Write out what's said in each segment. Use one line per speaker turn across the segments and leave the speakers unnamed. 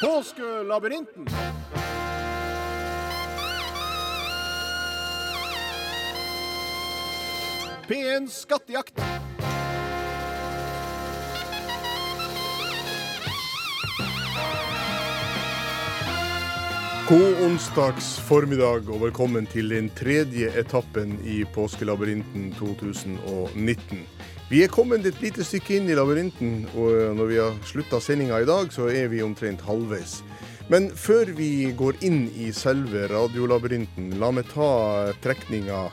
Påskelabyrinten. P1 Skattejakt.
God onsdags formiddag og velkommen til den tredje etappen i Påskelabyrinten 2019. Vi er kommet et lite stykke inn i labyrinten, og når vi har slutta sendinga i dag, så er vi omtrent halvveis. Men før vi går inn i selve radiolabyrinten, la meg ta trekninga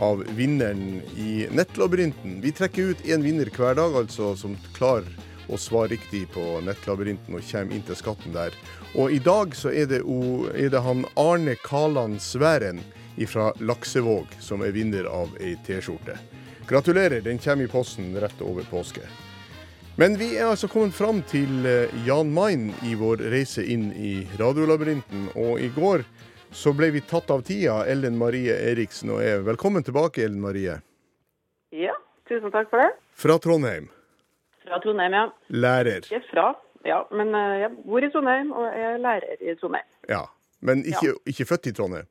av vinneren i nettlabyrinten. Vi trekker ut én vinner hver dag, altså, som klarer og svar riktig på nettlabyrinten og kommer inn til skatten der. Og i dag så er det, o, er det han Arne Kaland Sværen fra Laksevåg som er vinner av ei T-skjorte. Gratulerer, den kommer i posten rett over påske. Men vi er altså kommet fram til eh, Jan Mayen i vår reise inn i radiolabyrinten. Og i går så ble vi tatt av tida, Ellen Marie Eriksen og jeg. Velkommen tilbake, Ellen Marie.
Ja, tusen takk for det.
Fra Trondheim.
Fra Trondheim, ja.
Lærer.
Ikke fra, ja, men eh, jeg bor i Trondheim, og jeg er lærer i Trondheim.
Ja. Men
Ja.
ikke, ikke født i Trondheim.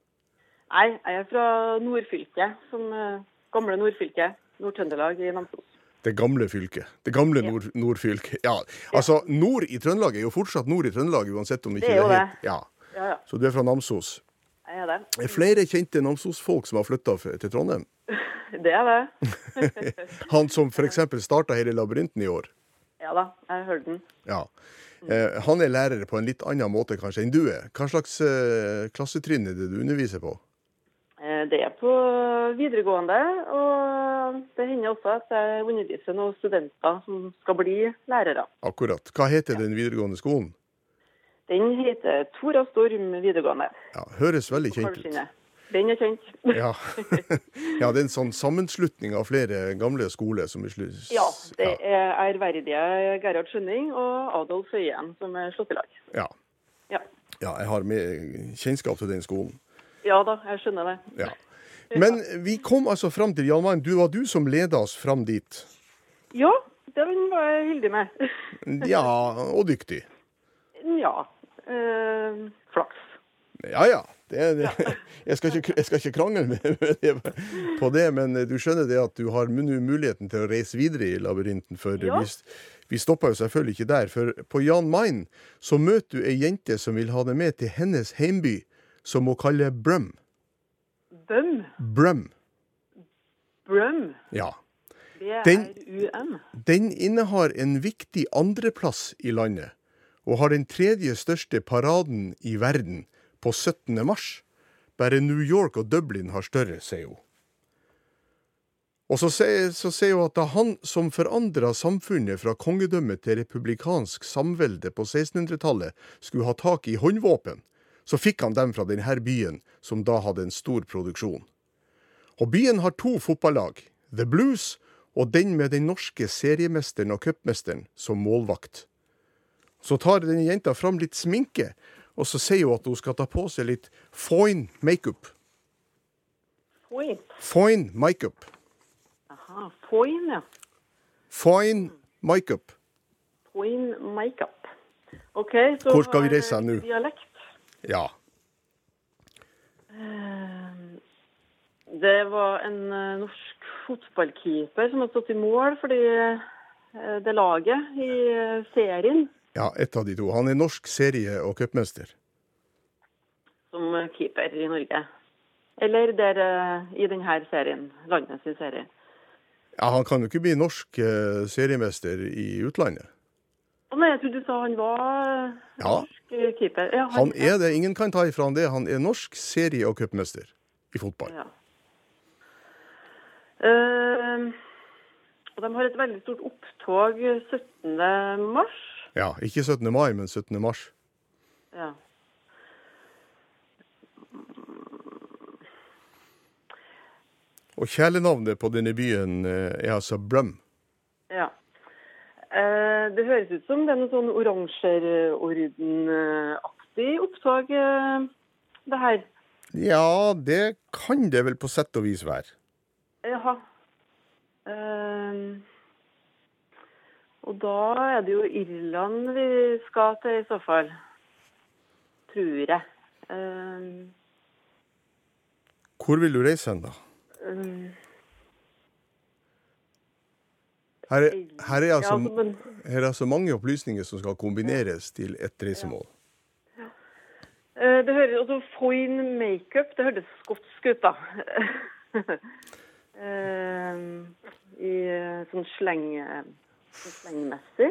Nei, jeg er fra nordfylket, som eh, gamle nordfylket, Nord-Trøndelag i Namsos.
Det gamle fylket. Det gamle nord, nordfylket. Ja. Altså, nord i Trøndelag er jo fortsatt nord i Trøndelag, uansett om ikke
Det er jo
det
det.
het- Ja.
Ja, ja,
Så du er fra Namsos.
jeg er det.
Er flere kjente Namsos-folk som har flytta til Trondheim?
Det er det.
Han som f.eks. starta hele labyrinten i år.
Ja da, jeg hørte den.
Ja. Eh, han er lærer på en litt annen måte kanskje enn du er. Hva slags eh, klassetrinn er det du underviser på?
Eh, Det er på videregående, og eh, det hender også at jeg underviser noen studenter som skal bli lærere.
Akkurat. Hva heter den videregående skolen?
Den heter Tora Storm videregående.
Ja, høres veldig kjent
Kanskje
ut.
kjenner. Den er kjent.
Ja. ja, det er en sånn sammenslutning av flere gamle skoler som er slu-
Ja, det er ærverdige Gerhard Skjønning og Adolf Høyen som er slått i lag.
Ja.
Ja.
ja, jeg har med kjennskap til den skolen.
ja da, jeg skjønner det.
Ja. Men vi kom altså fram til Jan Mayen. Du var du som leda oss fram dit.
Ja, den var jeg heldig med.
Ja, og dyktig.
ja. Eh, flaks.
Ja ja. Det, det, jeg, skal ikke, jeg skal ikke krangle med, med det, på det, men du skjønner det at du har nå muligheten til å reise videre i labyrinten. For
Ja.
vi, vi stoppa jo selvfølgelig ikke der. For på Jan Mayen så møter du ei jente som vil ha deg med til hennes heimby, som hun kaller Brøm.
Bøm.
Brøm.
Brøm.
Ja. Den-
B-r-u-m.
Den innehar en viktig andreplass i landet, og har den tredje største paraden i verden på 17. mars. Bare New York og Dublin har større, sier hun. Og så sier, så sier hun at da han som forandra samfunnet fra kongedømme til republikansk samvelde på 1600-tallet, skulle ha tak i håndvåpen, så fikk han dem fra denne byen, som da hadde en stor produksjon. Og byen har to fotballag, The Blues og den med den norske seriemesteren og cupmesteren som målvakt. Så tar denne jenta fram litt sminke, og så sier hun at hun skal ta på seg litt foin makeup.
Foin.
Foin makeup.
Aha, foin, Ah, ja.
Foin makeup.
Foin makeup. OK, så
Hvor skal vi
har jeg
reise hen nå?
Dialekt.
Ja.
Det var en eh, norsk fotballkeeper som har stått i mål for det det laget i eh, serien.
Ja, ett av de to. Han er norsk serie- og cupmester.
som keeper i Norge. Eller der eh, i denne serien, landets serie.
Ja, han kan jo ikke bli norsk eh, seriemester i utlandet.
Å nei, jeg trodde du sa han var eh,
Ja.
norsk eh, keeper. Ja,
Han er det. Ingen kan ta ifra han det. Han er norsk serie- og cupmester i fotball.
Ja. Eh, og de har et veldig stort opptog 17. mars.
Ja, ikke 17. mai, men 17. mars.
Ja.
Og kjælenavnet på denne byen eh, er altså Brøm.
ja. Eh, det høres ut som det er noe sånn oransjerorden-aktig opptog, eh, det her.
Ja, det kan det vel på sett og vis være.
Jaha. Ehm, og da er det jo Irland vi skal til i så fall. tror jeg. Eh,
Hvor vil du reise hen, da?
eh,
Her er, her, er
ja,
altså,
men
her er altså mange opplysninger som skal kombineres til ett reisemål.
eh, det høres også Foyn makeup. Det hørtes skotsk ut, da. Eh, I eh, sånn sleng, sånn slengmessig.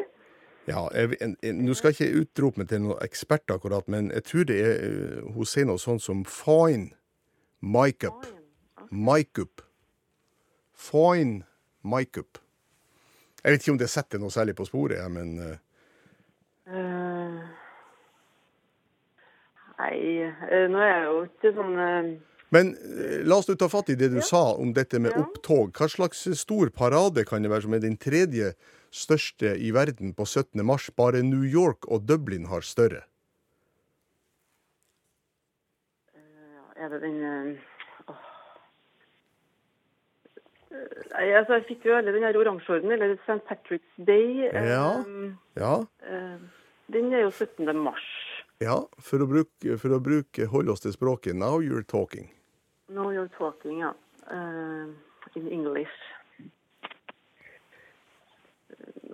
Ja, jeg, en- en- Nå skal jeg ikke utrope meg til noen ekspert, akkurat, men jeg tror det er eh, Hun sier noe sånt som fine makeup. Makeup. Fine makeup. Jeg vet ikke om det setter noe særlig på sporet, jeg, men eh,
Eh, Nei, eh, nå er jeg jo ikke sånn eh,
Men eh, la oss nå ta fatt i det du sa om dette med opptog. Hva slags stor parade kan det være som er den tredje største i verden på 17. mars? Bare New York og Dublin har større.
Er det den eh, åh. Eh, Nei, altså, jeg fikk jo alle den her oransjeorden, eller St. Patrick's Day. eh,
Ja. Ja,
eh, Den er jo 17. mars.
ja for, å bruke, for å bruke Hold oss til språket. Now you're talking.
Now you're talking, ja. Eh, in English.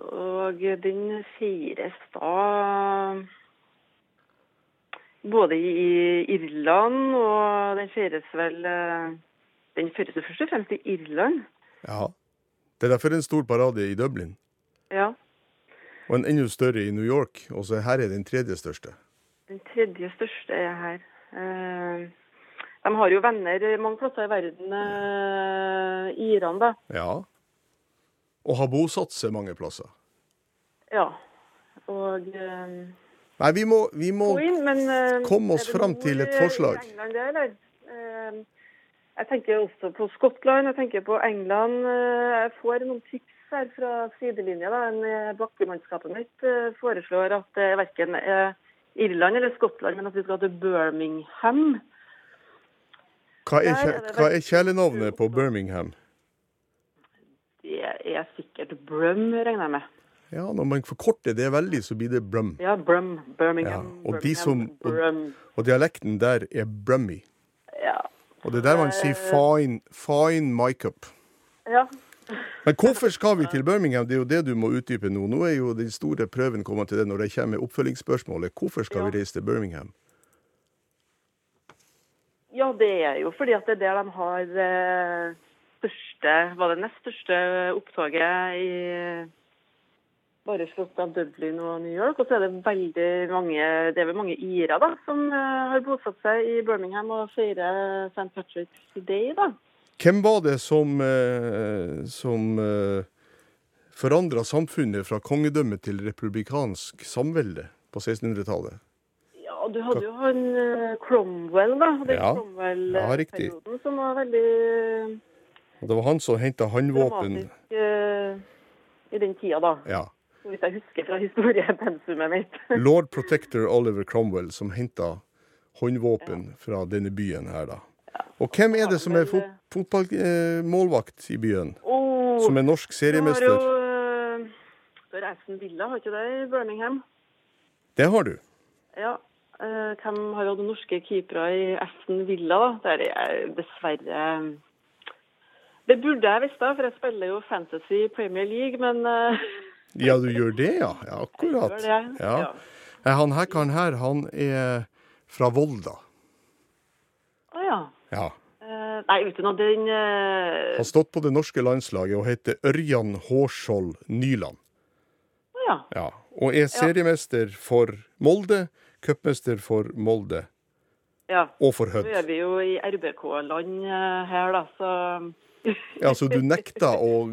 Og den feires da både i Irland, og den feires vel eh, Den feires jo først og fremst i Irland.
Ja. Det er derfor en stor parade i Dublin,
Ja.
og en enda større i New York. Og så her er den tredje største.
Den tredje største er her. Eh, De har jo venner mange plasser i verden. eh, I Iran, da.
Ja. Og har bosatt seg mange plasser.
Ja. Og eh,
Nei, vi må, vi må
Queen, men eh,
Kom oss
er det
fram
nord
til et
i
forslag.
England, det, eller? Eh, Jeg tenker også på Skottland, jeg tenker på England. Eh, Jeg får noen tips her fra sidelinja. da. En, eh, Bakkemannskapet mitt eh, foreslår at det verken er eh, Irland eller Skottland, men at vi skal til Birmingham.
Hva er,
Der er
kjæ-
det
hva er kjælenavnet på Birmingham?
Det er sikkert Brum, regner jeg med.
Ja, når man forkorter det veldig, så blir det brum.
Ja, Brum. Birmingham.
Ja, og de som-
Birmingham, Brum.
Og dialekten der er brummy.
Ja.
Og det er der man sier fine, fine makeup.
ja.
Men hvorfor skal vi til Birmingham? Det er jo det du må utdype nå. Nå er jo den store prøven kommet til det når det kommer oppfølgingsspørsmålet. Hvorfor skal vi reise til Birmingham?
Ja, det er jo fordi at det er der de har eh, største Var det nest største opptoget i bare slått av Dublin og New York. Og så er det veldig mange det er vel mange irer da, som eh, har bosatt seg i Birmingham og feirer St. Patrick's Day. da.
Hvem var det som, eh, som eh, forandra samfunnet fra kongedømme til republikansk samvelde på 1600-tallet?
Ja, du hadde jo han eh, Cromwell, da. Den
Ja. Ja, riktig.
Cromwell-perioden som var veldig eh,
Og Det var han som henta håndvåpen.
dramatisk eh, i den tida, da.
Ja.
Så Hvis jeg husker fra historiepensumet mitt.
Lord Protector Oliver Cromwell som henta håndvåpen fra denne byen her, da. Og hvem er det som er fot fotballmålvakt i byen?
Oh,
Som er norsk
Du har
seriemester?
jo eh, du har Aston Villa, har ikke det, i Birmingham?
Det har du.
Ja. Eh, Hvem har hatt norske keepere i Aston Villa, da? Der er jeg dessverre eh, Det burde jeg visst, da, for jeg spiller jo Fantasy i Premier League, men eh,
Ja, du gjør det, ja. ja akkurat.
jeg gjør det,
Ja.
ja.
Eh, Han her karen her, han er fra Volda.
Å ja.
Ja.
Eh, Nei, vet du nå, den eh,
Han har stått på det norske landslaget og heter Ørjan Hårskjold Nyland.
Å ja.
Ja. Og er seriemester for Molde, cupmester for Molde
ja.
og for
Nå er
Hødd.
vi jo i RBK-land eh, her, da, så
Ja, så du nekta å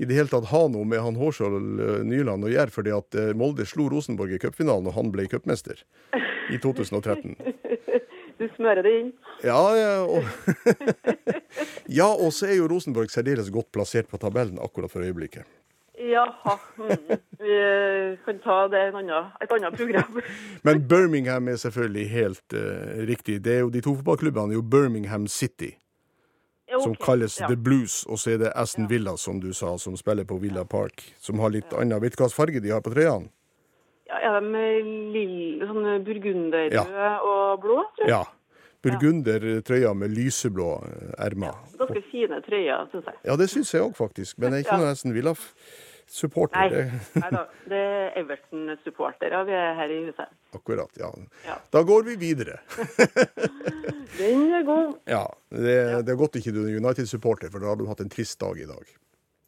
i det hele tatt ha noe med han Hårskjold eh, Nyland å gjøre, fordi at eh, Molde slo Rosenborg i cupfinalen, og han ble cupmester i 2013.
du smører det inn.
Ja, ja, og ja, og så er jo Rosenborg særdeles godt plassert på tabellen akkurat for øyeblikket.
Jaha. Mm. Vi eh, kan ta det i en annen- et annet program.
Men Birmingham er selvfølgelig helt eh, riktig. Det er jo De to fotballklubbene er jo Birmingham City,
Ja,
som
ok.
kalles
ja.
The Blues, og så er det Aston Villa, som du sa, som spiller på Villa Park, som har litt annen Vet du hva slags farge de har på trøyene?
Ja, er de lille, sånn burgunderrøde og blå, tror jeg.
Ja. Burgundertrøya eh, med lyseblå eh, ermer.
Ganske fine trøyer, syns jeg.
Ja, det syns jeg òg, faktisk. Men jeg er ikke noe nesten villa supporter.
Nei,
Det-
nei da. Det er Everton-supportere vi er her i huset.
Akkurat, ja.
Ja.
Da går vi videre.
Den er god.
Ja, det, det er godt ikke du er United-supporter, for da har du hatt en trist dag i dag.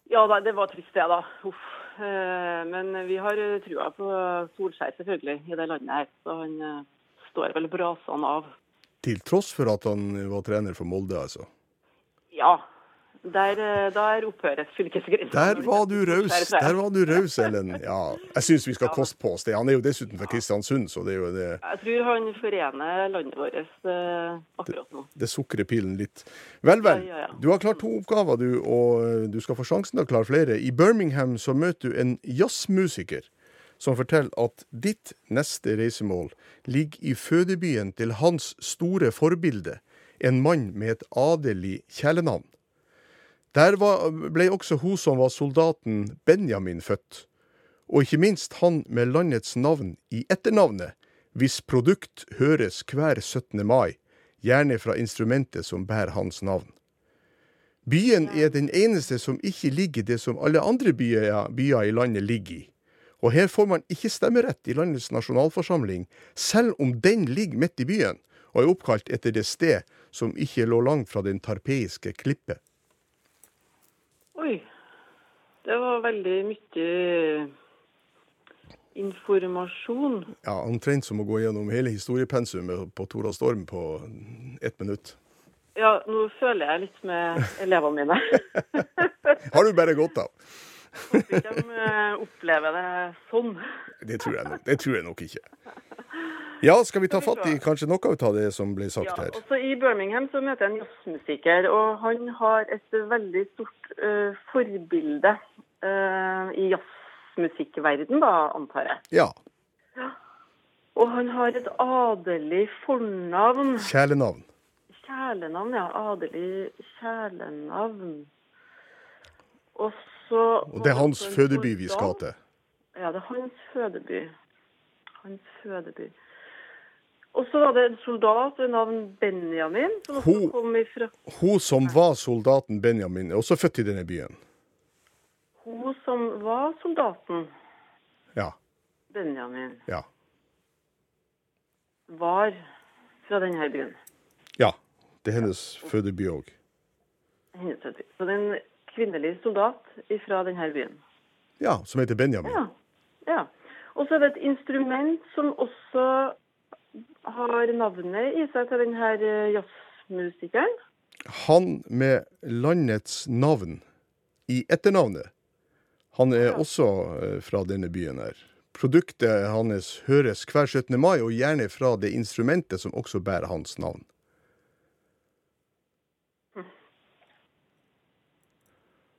Ja da, det var trist det, da. Uff. Eh, Men vi har eh, trua på Solskjær, selvfølgelig, i det landet her. Så han eh, står vel brasene av.
Til tross for at han var trener for Molde, altså.
Ja. Der, eh, der opphøres fylkesgrensa.
Der var du raus, der var du raus, Ellen. Ja, jeg syns vi skal koste på oss det. Han er jo dessuten fra Kristiansund, så det er jo det,
Jeg tror han forener landet vårt eh, akkurat nå.
det sukrer pilen litt. Vel, vel.
Ja, ja, ja.
Du har klart to oppgaver, du, og eh, du skal få sjansen til å klare flere. I Birmingham så møter du en jazzmusiker som forteller at ditt neste reisemål ligger i fødebyen til hans store forbilde, en mann med et adelig kjælenavn. Der var, ble også hun som var soldaten Benjamin født, og ikke minst han med landets navn i etternavnet, hvis produkt høres hver 17. mai, gjerne fra instrumentet som bærer hans navn. Byen er den eneste som ikke ligger i det som alle andre byer, byer i landet ligger i. Og her får man ikke stemmerett i landets nasjonalforsamling, selv om den ligger midt i byen, og er oppkalt etter det sted som ikke lå langt fra den tarpeiske klippet.
Oi. Det var veldig mye informasjon.
Ja, Omtrent som å gå gjennom hele historiepensumet på Tora Storm på ett minutt.
Ja, nå føler jeg litt med elevene mine.
Har du bare godt av?
Håper ikke de eh, opplever det sånn.
Det tror jeg nok, det tror jeg nok ikke. Ja, skal vi ta fatt i kanskje noe ut av det som ble
Ja,
sagt her?
også I Birmingham så møter jeg en jazzmusiker, og han har et veldig stort eh, forbilde eh, i jazzmusikkverden, da, antar jeg.
Ja.
Og han har et adelig fornavn.
Kjælenavn.
Kjælenavn, ja. Adelig kjælenavn. Og så
Og det er hans fødeby vi skal til.
Ja, det er hans fødeby. Hans fødeby. Og så var det en soldat ved navn Benjamin, som også
Ho-
kom ifra
Hun som var soldaten Benjamin, er også født i denne byen.
hun som var soldaten.
Ja.
Benjamin
Ja.
var fra denne byen.
ja. Det er hennes fødeby òg.
Hennes fødeby. Så det er en kvinnelig soldat fra denne byen.
Ja, som heter Benjamin.
Ja. ja. Og så er det et instrument som også har navnet i seg til denne jazzmusikeren.
Han med landets navn i etternavnet. Han er også eh, fra denne byen her. Produktet hans høres hver 17. mai, og gjerne fra det instrumentet som også bærer hans navn.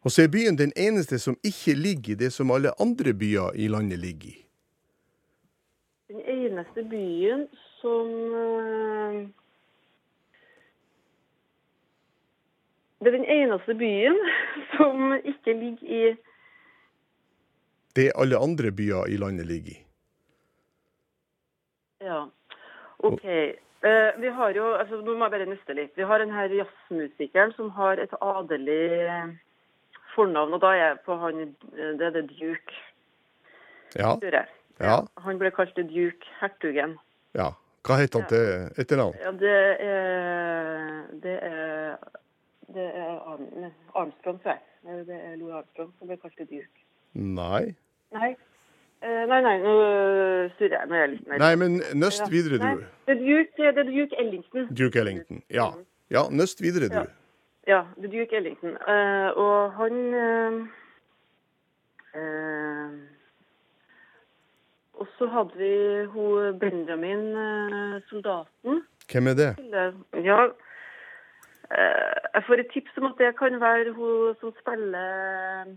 Og så er byen den eneste som ikke ligger i det som alle andre byer i landet ligger i.
Den eneste byen som eh, Det er den eneste byen som ikke ligger i
Det alle andre byer i landet ligger i.
Ja, OK. Eh, vi har jo altså, Nå må jeg bare nøste litt. Vi har den her jazzmusikeren som har et adelig eh, fornavn, og da er jeg på han eh, Det er det Duke,
Ja,
tror jeg.
Ja.
Han ble kalt The Duke, hertugen.
ja. Hva heter han til etternavn?
Ja, det er Det er, det er Arm- nei, Armstrong, tror jeg. Nei, Det er Louis Armstrong som ble kalt Duke.
Nei.
Nei. Eh, nei, nei, nå øh, surrer jeg. Nå er jeg litt mer
Nei, men nøst videre,
Nei,
du.
Det er Duke, det er Duke Ellington.
Duke Ellington. Ja. ja nøst videre, du.
Mm-hmm. Ja. Ja, det er Duke Ellington. Eh, og han eh, eh, Og så hadde vi hun Benjamin, eh, soldaten.
Hvem er det?
spiller Ja. Eh, Jeg får et tips om at det kan være hun som spiller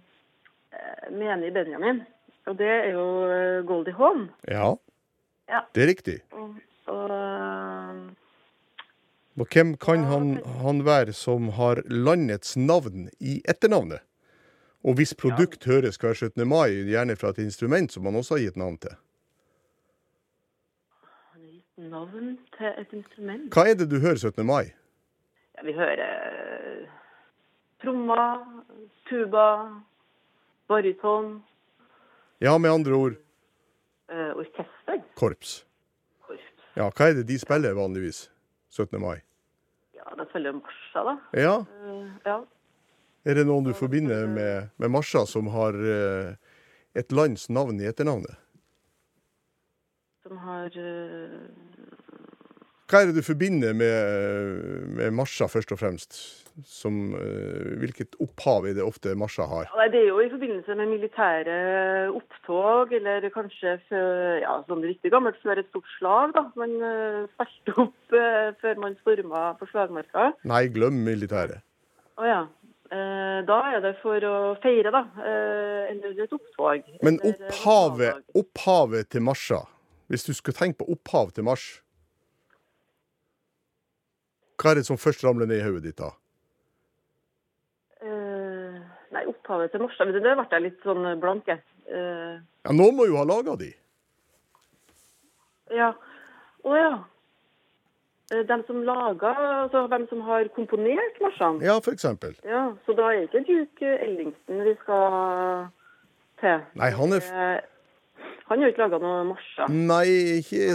eh, Meni Benjamin. Og det er jo eh, Goldie Hawn.
Ja.
Ja.
Det er riktig.
Og, og, eh,
Og hvem kan han, han være som har landets navn i etternavnet? Og hvis produkt høres hver 17. mai, gjerne fra et instrument som han også har gitt navn til.
Navn til et instrument?
Hva er det du hører 17. mai?
Ja, vi hører eh, trommer, tuba, baryton,
Ja, med andre ord
eh, orkester,
korps.
korps.
Ja, hva er det de spiller vanligvis 17. mai?
Ja, det følger marsjer, da.
Ja,
Eh, ja.
er det noen du forbinder med, med marsjer som har eh, et lands navn i etternavnet?
Som har eh,
Hva er det du forbinder med, med marsjer først og fremst? Som, eh, hvilket opphav er det ofte marsjer har?
ja, Nei, det er jo i forbindelse med militære opptog, eller kanskje før, ja, sånn riktig gammelt før et stort slag, da. Man eh, spilte opp eh, før man storma på slagmarka.
Nei, glem militæret.
Å ja. Eh, da er det for å feire, da. Eh, eller et opptog.
Men
eller en
opphavet,
nasjonaldag.
opphavet til marsjer, hvis du skulle tenke på opphav til marsj Hva er det som først ramler ned i hodet ditt da?
Eh, nei, opphavet til Morstad. Det ble jeg litt sånn blank, jeg. Eh,
Ja, Noen må jo ha laga de.
ja. Å ja. Eh, Dem som laga, altså hvem som har komponert marsjene.
Ja, for eksempel.
Ja, så da er ikke Duke Ellington vi skal til.
Nei, han er f-
Eh, han har jo ikke laga noen marsjer.
Nei, ikke,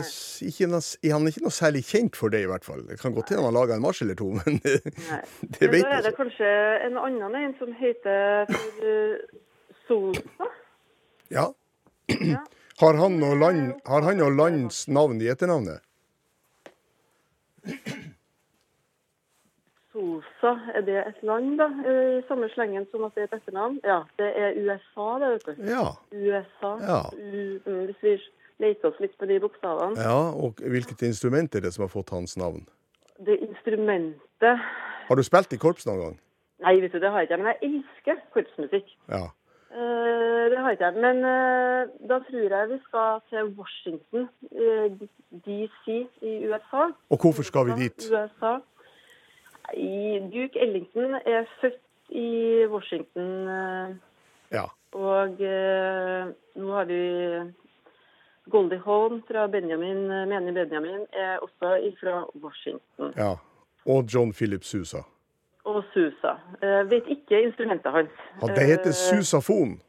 ikke, noe s- han er ikke noe særlig kjent for det, i hvert fall. Det kan godt hende han har laga en marsj eller to, men
Nei.
det
Men
vet
da
jeg
er det
ikke.
kanskje en annen en som heter for eh, Sosa.
Ja. Har han noe land, har han noe lands navn i etternavnet?
Sosa, er det et land, da? Eh, I samme slengen som at det er et etternavn? Ja, det er USA, det, vet du.
Ja.
USA.
Ja.
U mm, hvis vi leter oss litt på de bokstavene.
ja. Og hvilket instrument er det som har fått hans navn?
Det instrumentet
Har du spilt i korps noen gang?
Nei, vet du, det har jeg ikke. Men jeg elsker korpsmusikk.
Ja.
Eh, det har jeg ikke. Men eh, da tror jeg vi skal til Washington, eh, DC i USA.
Og hvorfor skal vi dit?
USA. Nei, Duke Ellington er født i Washington. eh,
Ja.
Og eh, nå har vi Goldie Holm fra Benjamin, mener Benjamin, er også fra Washington.
ja. Og John Philip Susa.
Og Susa. Eh, vet ikke instrumentet hans.
Ja, det heter
Eh,
susafon.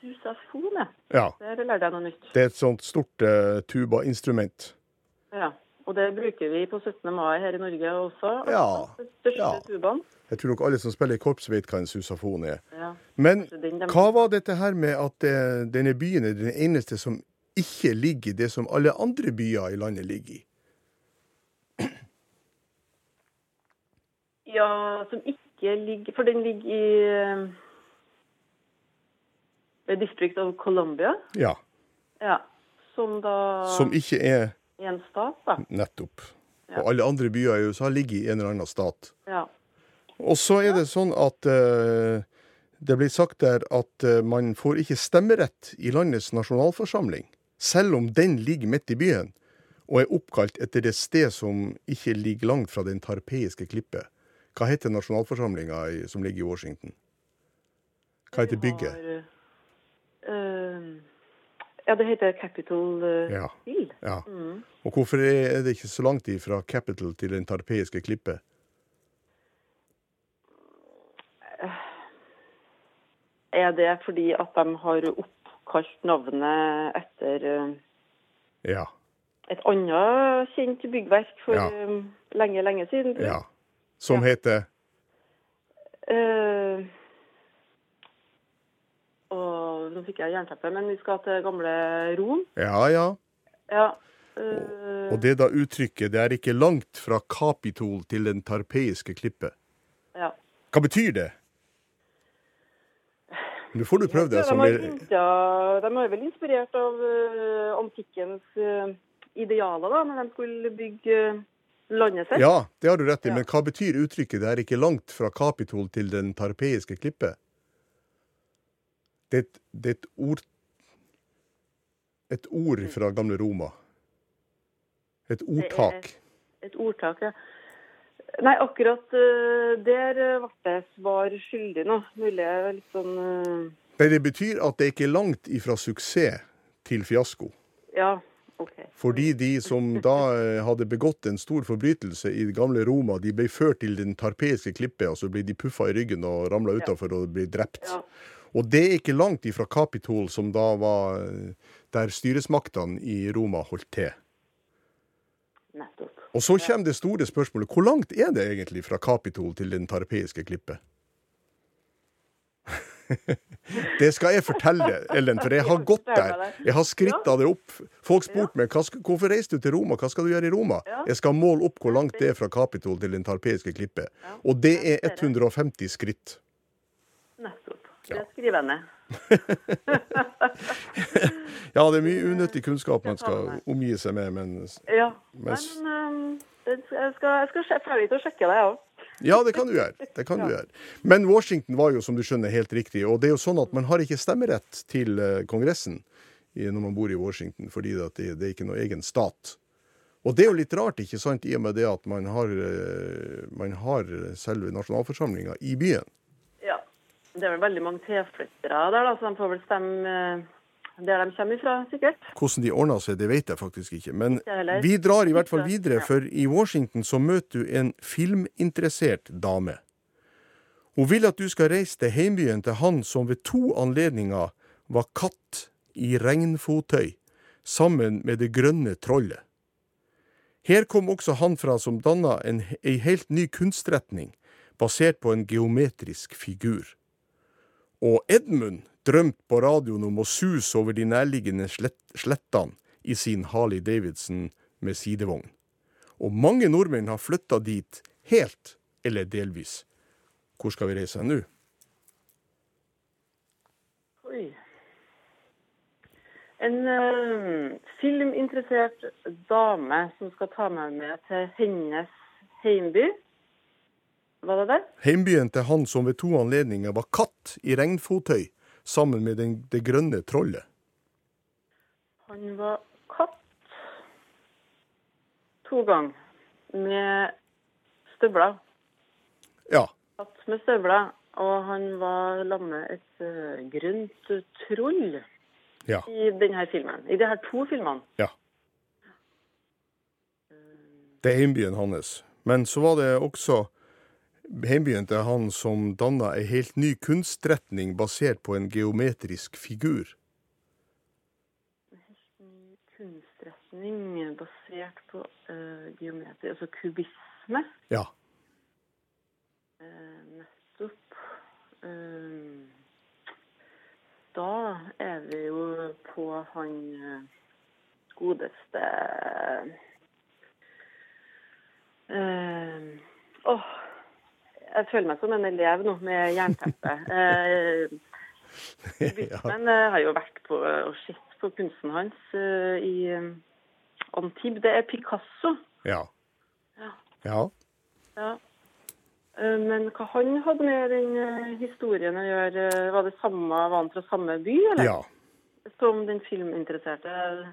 Susafon, ja.
Ja.
Der lærte jeg noe nytt.
Det er et sånt stort eh, tubainstrument.
Ja. Og det bruker vi på 17. mai her i Norge også.
Ja.
Den største
Ja.
tubaen.
Jeg tror nok alle som spiller i korps, vet hva en susafon er.
Ja.
Men
Kanskje den de-
hva var dette her med at eh, denne byen er den eneste som ikke ligger i det som alle andre byer i landet ligger i?
ja, som ikke ligger For den ligger i eh, District of Columbia.
Ja.
Ja. Som da
Som ikke er
en stat, da.
nettopp.
Ja.
Og alle andre byer i USA ligger i en eller annen stat.
Ja.
Og så er det sånn at eh, det blir sagt der at eh, man får ikke stemmerett i landets nasjonalforsamling, selv om den ligger midt i byen og er oppkalt etter det sted som ikke ligger langt fra den tarpeiske klippet. Hva heter nasjonalforsamlinga i- som ligger i Washington? Hva heter bygget?
Har, eh, ja, det heter Capitol eh,
Ja.
Hill.
Ja. Og hvorfor er det ikke så langt fra Capitol til den tarpeiske klippet?
Er det fordi at de har oppkalt navnet etter eh,
Ja.
et annet kjent byggverk for
Ja.
eh, lenge, lenge siden?
ja. Som heter
Eh, og nå fikk jeg jernteppe, men vi skal til gamle Rom.
Ja, ja.
Ja. eh,
Og det da uttrykket 'det er ikke langt fra Kapitol til den tarpeiske klippet'.
ja.
Hva betyr det? Nå får du prøve
Ja,
deg som
de, har
er-
hintet, de er vel inspirert av eh, antikkens eh, idealer da, når de skulle bygge eh, landet sitt.
Ja, det har du rett i, men hva betyr uttrykket 'det er ikke langt fra Kapitol til den tarpeiske klippet'? Det er et, det er et ord Et ord fra gamle Roma. Et ordtak.
Et ordtak, ja. Nei, akkurat eh, der eh, ble det svar skyldig nå. Mulig jeg er litt sånn eh,
Nei, det betyr at det er ikke langt ifra suksess til fiasko.
Ja. OK.
Fordi de som da eh, hadde begått en stor forbrytelse i det gamle Roma, de ble ført til den tarpeiske klippet, og så ble de puffa i ryggen og ramla utafor og ble drept.
Ja.
Og det er ikke langt ifra Capitol, som da var eh, der styresmaktene i Roma holdt til.
Nettopp.
Og så kommer det store spørsmålet. Hvor langt er det egentlig fra Capitol til den tarpeiske klippet? det skal jeg fortelle, Ellen, for jeg har gått der. Jeg har skritta det opp. Folk spurte meg hva skal, hvorfor reiste du til Roma, hva skal du gjøre i Roma?
Ja.
Jeg skal måle opp hvor langt det er fra Capitol til den tarpeiske klippet. Og det er 150 skritt.
Nettopp. Det skriver jeg ned.
Ja, det er mye unyttig kunnskap man skal omgi seg med, men
Ja.
Men
Men,
s-
øhm, det- jeg skal, jeg skal sje- ferdig til å sjekke det, jeg òg.
Ja, det kan du gjøre. Det kan du gjøre. Men Washington var jo, som du skjønner, helt riktig. Og det er jo sånn at man har ikke stemmerett til eh, Kongressen i- når man bor i Washington, fordi at det, det er ikke noe egen stat. Og det er jo litt rart, ikke sant, i og med det at man har, eh, man har selve nasjonalforsamlinga i byen.
Ja. Det er vel veldig mange tilflyttere der, da, så de får vel stemme øh, der de kommer ifra, sikkert.
Hvordan de ordner seg, det vet jeg faktisk ikke. Men
Ikke heller.
vi drar i hvert fall
Ikke.
videre,
Ja.
for i Washington så møter du en filminteressert dame. Hun vil at du skal reise til heimbyen til han som ved to anledninger var katt i regnfottøy, sammen med det grønne trollet. Her kom også han fra som danna en, ei helt ny kunstretning, basert på en geometrisk figur. Og Edmund drømte på radioen om å suse over de nærliggende slett, slettene i sin Harley Davidson med sidevogn. Og mange nordmenn har flytta dit, helt eller delvis. Hvor skal vi reise hen nå?
Oi. En øhm, filminteressert dame som skal ta meg med til hennes heimby. Var det det?
Heimbyen til han som ved to anledninger var katt i regnfottøy sammen med den, det grønne trollet.
Han var katt to ganger med støvler.
Ja,
Katt med støvler. Og han var sammen med et eh, grønt troll
ja,
i denne filmen. I de her to filmene.
ja. Det er heimbyen hans. Men så var det også heimbyen til han som danna ei helt ny kunstretning basert på en geometrisk figur.
Kunstretning basert på eh, geometri, altså kubisme.
Ja.
Eh, nettopp. Eh, da er vi jo på han eh, godeste eh, Åh, jeg føler meg som en elev nå med jernteppe. Eh, men jeg har jo vært på eh, og sett på kunsten hans eh, i eh, Antibes. Det er Picasso.
Ja.
Ja.
ja.
Ja. Eh, Men hva han hadde med den eh, historien å gjøre, eh, var det samme, var han fra samme by, eller?
Ja.
Som den filminteresserte eh,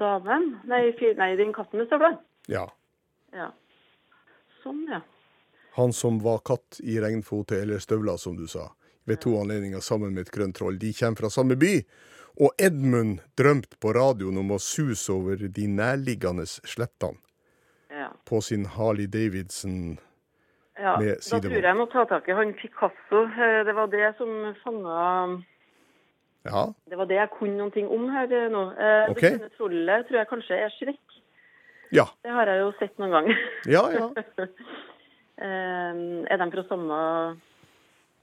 damen? Nei, fi- nei den katten med støvlene.
ja.
Ja. Sånn, ja.
Han som var katt i regnfote eller støvler, som du sa, ved to anledninger sammen med et grønt troll. De kommer fra samme by. Og Edmund drømte på radioen om å suse over de nærliggende slettene
Ja.
på sin Harley Davidson.
ja.
Med
Da
sidevogn.
tror jeg jeg må ta tak i han Picasso. Eh, Det var det som fanga
Ja,
Det var det jeg kunne noen ting om her eh, nå. Eh,
Ok.
Det grønne trollet tror jeg kanskje er Shrek.
ja,
Det har jeg jo sett noen ganger.
ja. ja.
Eh, er de fra samme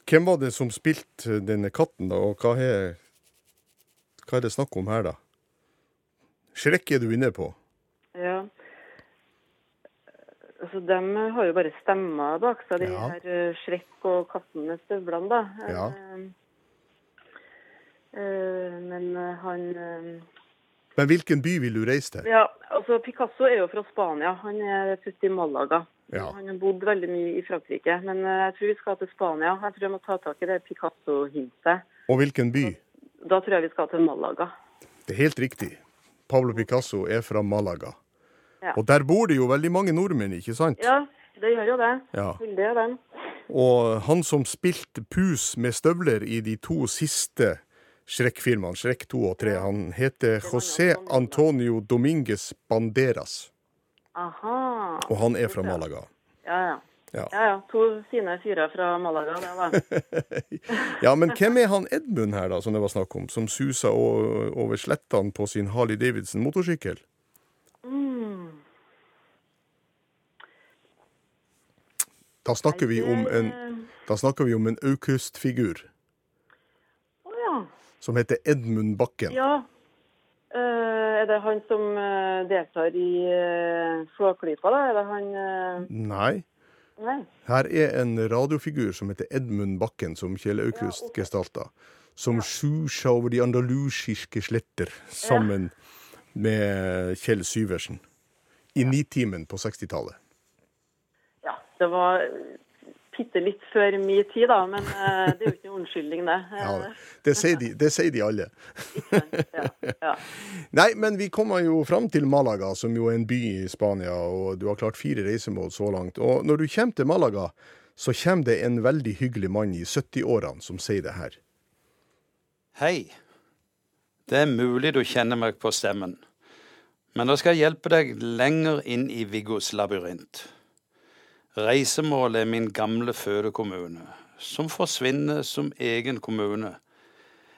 Hvem var det som spilte denne katten, da, og hva er, hva er det snakk om her, da? Shrek er du inne på.
Ja. Altså, de har jo bare stemmer bak seg, de
Ja.
her eh, Shrek og katten med støvlene, da.
Ja.
Eh, eh, men eh, han eh,
Men hvilken by vil du reise til?
Ja, altså Picasso er jo fra Spania. Han er født i Malaga.
Ja.
Han har bodd veldig mye i Frankrike. Men eh, jeg tror vi skal til Spania. Jeg tror jeg må ta tak i det Picasso-hintet.
Og hvilken by?
Da tror jeg vi skal til Malaga.
Det er helt riktig. Pablo Picasso er fra Malaga.
Ja.
Og der bor det jo veldig mange nordmenn, ikke sant?
Ja, det gjør jo det.
Ja.
Veldig av dem.
Og han som spilte pus med støvler i de to siste Shrek-filmene, Shrek 2 og 3. Han heter José Antonio Dominguez Banderas,
Aha.
og han er fra Malaga.
Ja, ja.
Ja.
Ja, ja. To fine fyrer fra Malaga, det da.
ja, men hvem er han Edmund her, da, som det var snakk om, som suser o- over slettene på sin Harley Davidson motorsykkel? Da snakker vi om en,
Eh,
da snakker vi om en Aukust-figur
Å ja.
som heter Edmund Bakken.
Ja. Eh, er det han som eh, deltar i uh, Flåklypa, da? Er det han eh,
Nei.
Nei.
Her er en radiofigur som heter Edmund Bakken, som Kjell Aukust gestalta. Som suser over de andalusiske sletter sammen med Kjell Syversen. I Nitimen på 60-tallet.
Ja. Det var bitte litt før min tid, da, men eh, det er jo ikke noen unnskyldning, det.
Ja, det- det, sier de, det sier de alle.
ja. Eh, ja.
Nei, men vi kommer jo fram til Malaga, som jo er en by i Spania, og du har klart fire reisemål så langt. Og når du kommer til Malaga, så kommer det en veldig hyggelig mann i 70-årene som sier det her.
Hei. Det er mulig du kjenner meg på stemmen, men da skal jeg hjelpe deg lenger inn i Viggos labyrint. Reisemålet er min gamle fødekommune, som forsvinner som egen kommune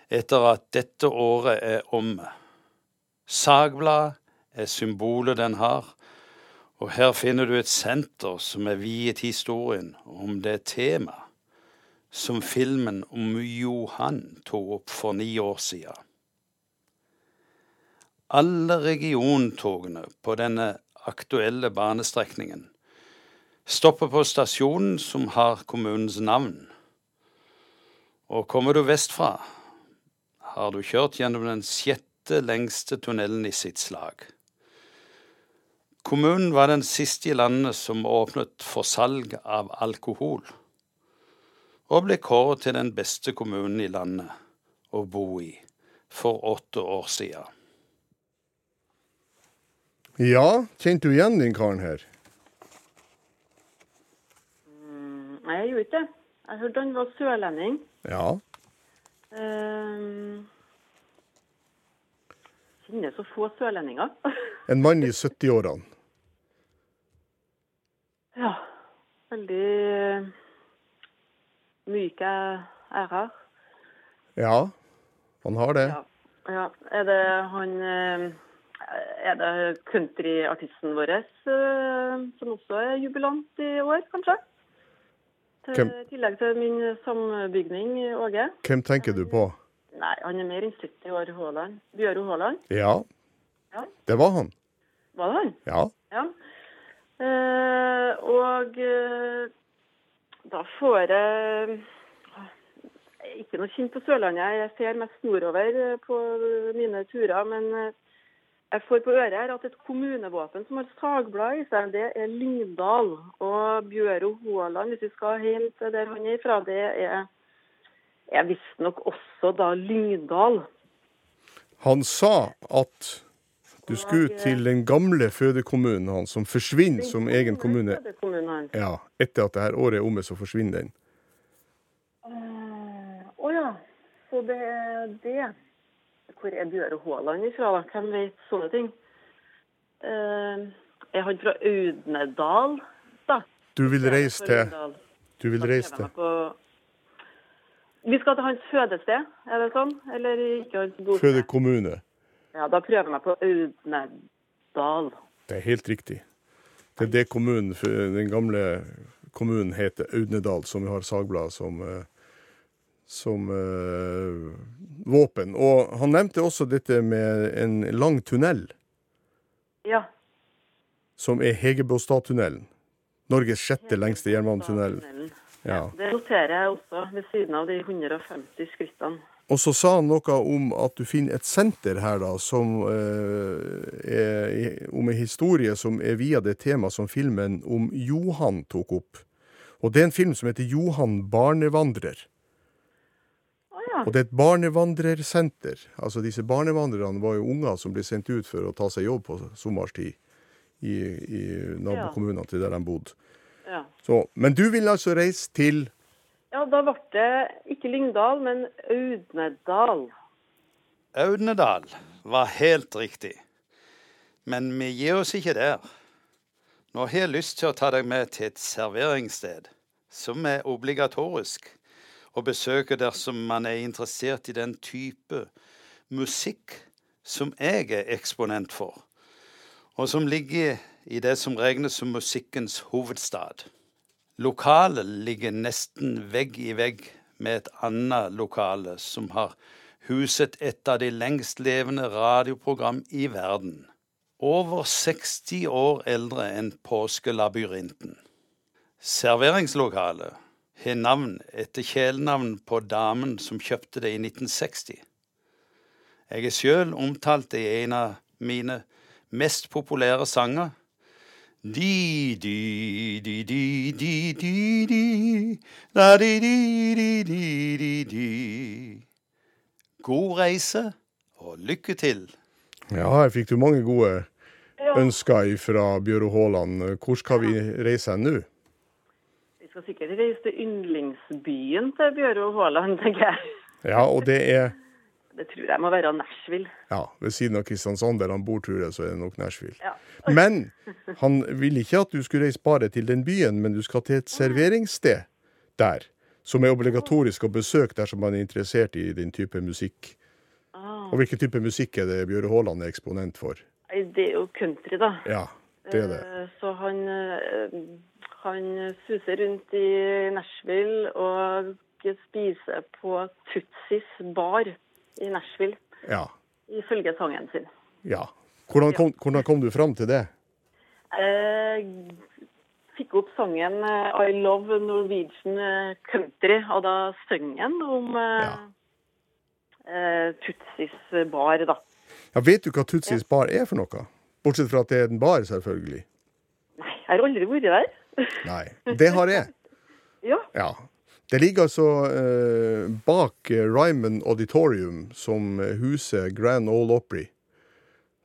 etter at dette året er omme. Sagbladet er symbolet den har, og her finner du et senter som er viet historien om det temaet som filmen om Johan tok opp for ni år siden. Alle regiontogene på denne aktuelle banestrekningen stopper på stasjonen som har kommunens navn. Og kommer du vestfra, har du kjørt gjennom den sjette lengste tunnelen i sitt slag. Kommunen var den siste i landet som åpnet for salg av alkohol og ble kåret til den beste kommunen i landet å bo i for åtte år siden.
Ja, kjente du igjen den karen her?
Nei, jeg gjorde ikke det. Jeg hørte han var sørlending.
Ja.
Uh, kjenner så få sørlendinger.
En mann i 70-årene.
Ja. Veldig eh, myke ærer.
Ja, han har det.
Ja. ja. Er det han eh, Er det countryartisten vår eh, som også er jubilant i år, kanskje? Til,
Hvem?
I tillegg til min sambygning, Åge.
Hvem tenker du på?
Nei, han er mer enn 70 år, Haaland. Bjøro Haaland.
Ja,
Ja.
det var han.
Var det han?
Ja.
Ja. Eh, og eh, da får jeg jeg er ikke noe kjent på Sørlandet. Jeg ser mest nordover eh, på mine turer. Men eh, jeg får på øret her at et kommunevåpen som har sagblad i seg, det er Lyngdal. Og Bjøro Haaland, hvis vi skal helt til der han er ifra, det er, er visstnok også da Lyngdal.
Han sa at du skulle til den gamle fødekommunen hans, som forsvinner som egen kommune.
Det er kommunen hans.
Ja, etter at det her året er omme, så forsvinner den.
Å ja. Så det er det. Hvor er Bjøre Haaland ifra, da? Hvem vet sånne ting? Eh, er han fra Audnedal, da?
Du vil reise til
Audnedal.
Du vil
Da
reise
prøver
til
jeg meg på- Vi skal til hans fødested, er det sånn? Eller ikke hans bosted?
fødekommune.
Ja, da prøver jeg meg på Audnedal.
Det er helt riktig. Det er det kommunen, for den gamle kommunen heter Audnedal, som har Sagblad som, eh, som eh, våpen. Og han nevnte også dette med en lang tunnel,
Ja.
som er Hegebostadtunnelen. Norges sjette lengste jernbanetunnel.
Tunnelen.
Ja.
Det noterer jeg også, ved siden av de 150 skrittene.
Og så sa han noe om at du finner et senter her, da, som eh, er i- om en historie som er via det temaet som filmen om Johan tok opp. Og det er en film som heter Johan barnevandrer.
Å ja.
Og det er et barnevandrersenter. Altså disse barnevandrerne var jo unger som ble sendt ut for å ta seg jobb på sommerstid i, i nabokommunene til der de bodde.
ja.
Så, men du vil altså reise til
Ja, da ble det ikke Lyngdal, men Audnedal.
Audnedal var helt riktig. Men vi gir oss ikke der. Nå har jeg lyst til å ta deg med til et serveringssted som er obligatorisk å besøke dersom man er interessert i den type musikk som jeg er eksponent for, og som ligger i det som regnes som musikkens hovedstad. Lokalet ligger nesten vegg i vegg med et annet lokale som har huset et av de lengstlevende radioprogram i verden. Over 60 år eldre enn Påskelabyrinten. Serveringslokalet har navn etter kjælenavn på damen som kjøpte det i 1960. Jeg er sjøl omtalt i en av mine mest populære sanger. Di, di, di, di, di, di, di, da, di, di, di, di, di, di. God reise, og lykke til.
Ja, her fikk du mange gode
Ja.
ønsker fra Bjøro Haaland. Hvor skal vi reise hen nå?
Vi skal sikkert reise til yndlingsbyen til Bjøro Haaland, tenker jeg.
Ja, og det er
Det tror jeg må være Nashville.
ja, ved siden av Kristiansand, der han bor, tror jeg, så er det nok Nashville.
Ja.
Men han ville ikke at du skulle reise bare til den byen, men du skal til et serveringssted der, som er obligatorisk å besøke dersom man er interessert i den type musikk.
Ah.
Og hvilken type musikk er det Bjøre Haaland er eksponent for?
Nei, Det er jo country, da.
Ja, det er det.
Eh, Så han, eh, han suser rundt i Nashville og spiser på Tutsis bar i Nashville,
Ja.
ifølge sangen sin.
ja. Hvordan kom, hvordan kom du fram til det?
Eh, fikk opp sangen eh, I Love Norwegian eh, Country, og da sang han om eh, eh, Tutsis bar, da.
Ja, Vet du hva Tutsis bar er for noe? Bortsett fra at det er en bar, selvfølgelig.
Nei, jeg har aldri vært der.
Nei. Det har jeg.
ja.
Ja. Det ligger altså eh, bak eh, Ryman Auditorium, som huser Grand Ole Opry.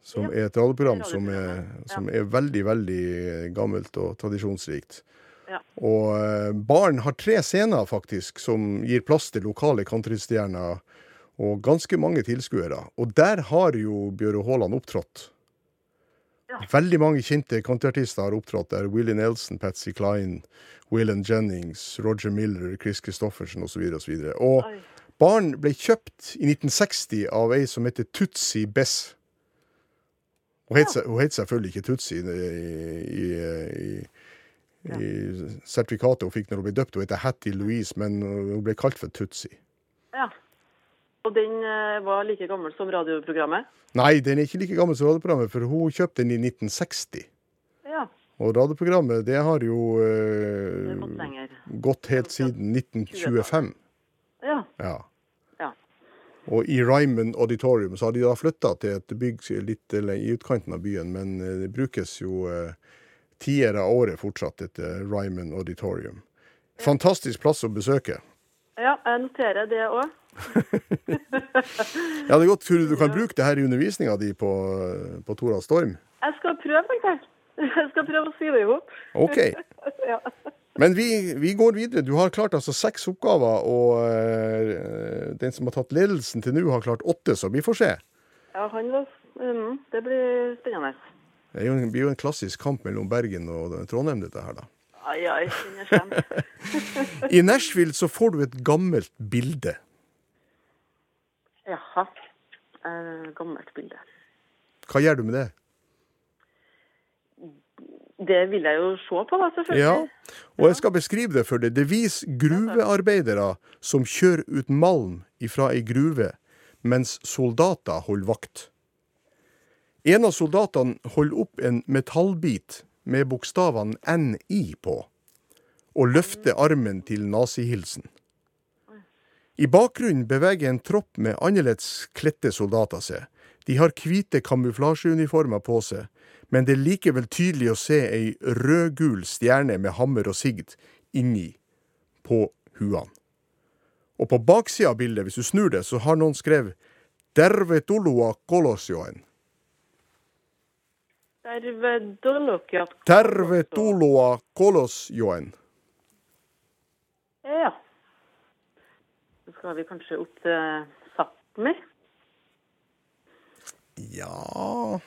Som er et radioprogram som er, som er veldig, veldig eh, gammelt og tradisjonsrikt.
Ja.
Og eh, baren har tre scener, faktisk, som gir plass til lokale countrystjerner og ganske mange tilskuere. Og der har jo Bjøre Haaland opptrådt.
Ja.
Veldig mange kjente countryartister har opptrådt der. Willie Nelson, Patsy Klein, William Jennings, Roger Miller, Chris Christoffersen osv. Og, så videre. og
Oi.
baren ble kjøpt i 1960 av ei som heter Tutsi Bess. Hun het, se- hun het selvfølgelig ikke Tutsi i, i, i, i sertifikatet hun fikk når hun ble døpt. Hun heter Hattie Louise, men hun ble kalt for Tutsi.
ja. Og den eh, var like gammel som radioprogrammet.
Nei, den er ikke like gammel som radioprogrammet, for hun kjøpte den i 1960.
Ja.
Og radioprogrammet det har jo eh,
Det har gått lenger.
gått helt siden 1925.
Ja.
Ja.
Ja.
Og i Ryman Auditorium så har de da flytta til et bygg litt le- i utkanten av byen, men eh, det brukes jo eh, tiere av året fortsatt, dette Ryman Auditorium. Fantastisk plass å besøke.
ja, jeg noterer det òg.
Ja, det er godt. Tror du du kan bruke det her i undervisninga di på, eh, på Tora Storm?
Jeg skal prøve, tenker jeg. Jeg skal prøve å sy det i hop.
OK.
Ja.
Men vi, vi går videre. Du har klart altså seks oppgaver, og eh, den som har tatt ledelsen til nå, har klart åtte, så vi får se.
ja, han var mm, Det blir spennende.
Det er jo en- blir jo en klassisk kamp mellom Bergen og Trondheim, dette her, da.
Ai, ai, den er slem.
I Nashville så får du et gammelt bilde.
Jaha. Eh, gammelt bilde.
Hva gjør du med det?
Det vil jeg jo se på, da,
Ja,
selvfølgelig.
og jeg skal beskrive det for deg. Det viser gruvearbeidere som kjører ut malm ifra ei gruve, mens soldater holder vakt. En av soldatene holder opp en metallbit med bokstavene NI på, og løfter armen til nazihilsen. I bakgrunnen beveger en tropp med annerledes kledte soldater seg. De har hvite kamuflasjeuniformer på seg, men det er likevel tydelig å se ei rød-gul stjerne med hammer og sigd inni på huene. Og på baksida av bildet, hvis du snur det, så har noen skrevet Dervetolua kolosjoen.
Ja.
Dervetoloa kolosjoen.
Ja. Så skal vi kanskje opp til Sápmi.
Ja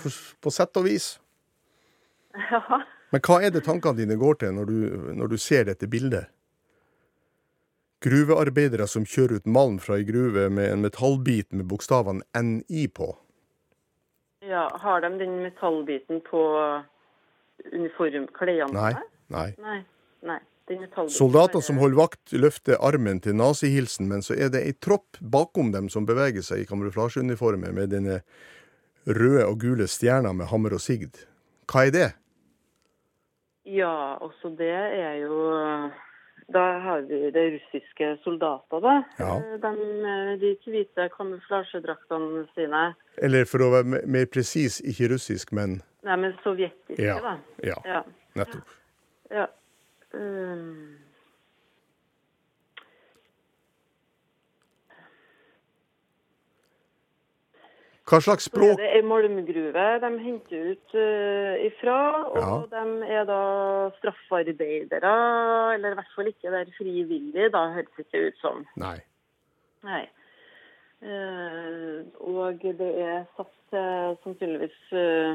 for, På sett og vis.
Ja.
Men hva er det tankene dine går til når du, når du ser dette bildet? Gruvearbeidere som kjører ut malm fra ei gruve med en metallbit med bokstavene NI på.
ja. Har de den metallbiten på uniformklærne?
Nei.
sine?
nei.
Nei. Nei. Den metallbiten
Soldater
bare-
som holder vakt, løfter armen til nazihilsen, men så er det ei tropp bakom dem som beveger seg i kamuflasjeuniformer med denne røde og gule stjerna med hammer og sigd. Hva er det?
Ja, også det er jo Da har vi det russiske soldater, da.
Ja.
Eh, De, de hvite kamuflasjedraktene sine.
Eller for å være me- mer presis, ikke russisk, men
Nei, men sovjetiske,
ja,
da.
ja,
Ja.
nettopp.
ja. Um,
Hva slags
så er
språk
det ei malmgruve de henter ut eh, ifra. Og
Ja.
de er da straffarbeidere, eller i hvert fall ikke der frivillig, da høres det ikke ut som.
Nei.
Nei. Eh, og det er satt til sannsynligvis eh,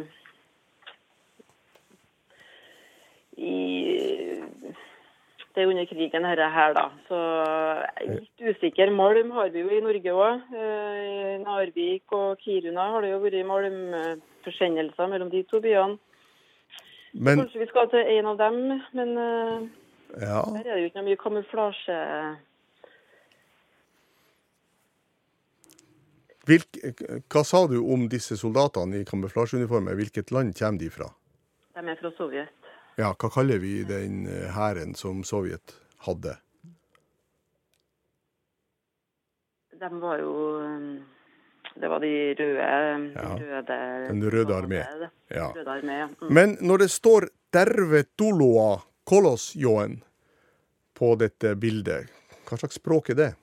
i Det er under krigen, dette her, da. Så jeg er litt usikker. Malm har vi jo i Norge òg. I Narvik og Kiruna har det jo vært malmforsendelser mellom de to byene.
Men
Kanskje vi skal til en av dem, men eh,
ja,
her er det jo ikke noe mye kamuflasje.
hvilk, Hva sa du om disse soldatene i kamuflasjeuniformer? Hvilket land kommer de fra?
De er fra Sovjet.
Ja, hva kaller vi den eh, hæren som Sovjet hadde?
De var jo um, Det var de røde
Ja.
røde,
Den Røde Armé. Ja.
Røde armé, ja. Mm.
Men når det står 'Dervetuloa kolosjoen' på dette bildet, hva slags språk er det?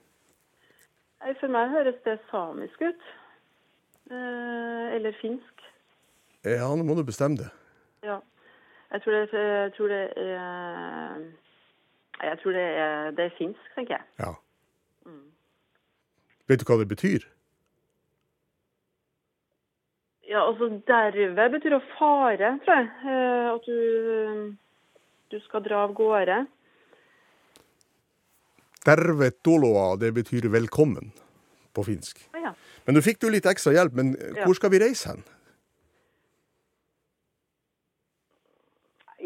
Nei, For meg høres det samisk ut. Eh, eller finsk.
Ja, nå må du bestemme det.
Ja. Jeg tror det, jeg tror det er Nei, Jeg tror det er, det er finsk, tenker jeg.
Ja.
Mm.
Vet du hva det betyr?
Ja, altså derve betyr å fare, tror jeg. Eh, at du, du skal dra av gårde.
Dervetuloa, det betyr velkommen på finsk.
Å ja.
Men nå fikk du litt ekstra hjelp, men eh,
Ja.
hvor skal vi reise hen?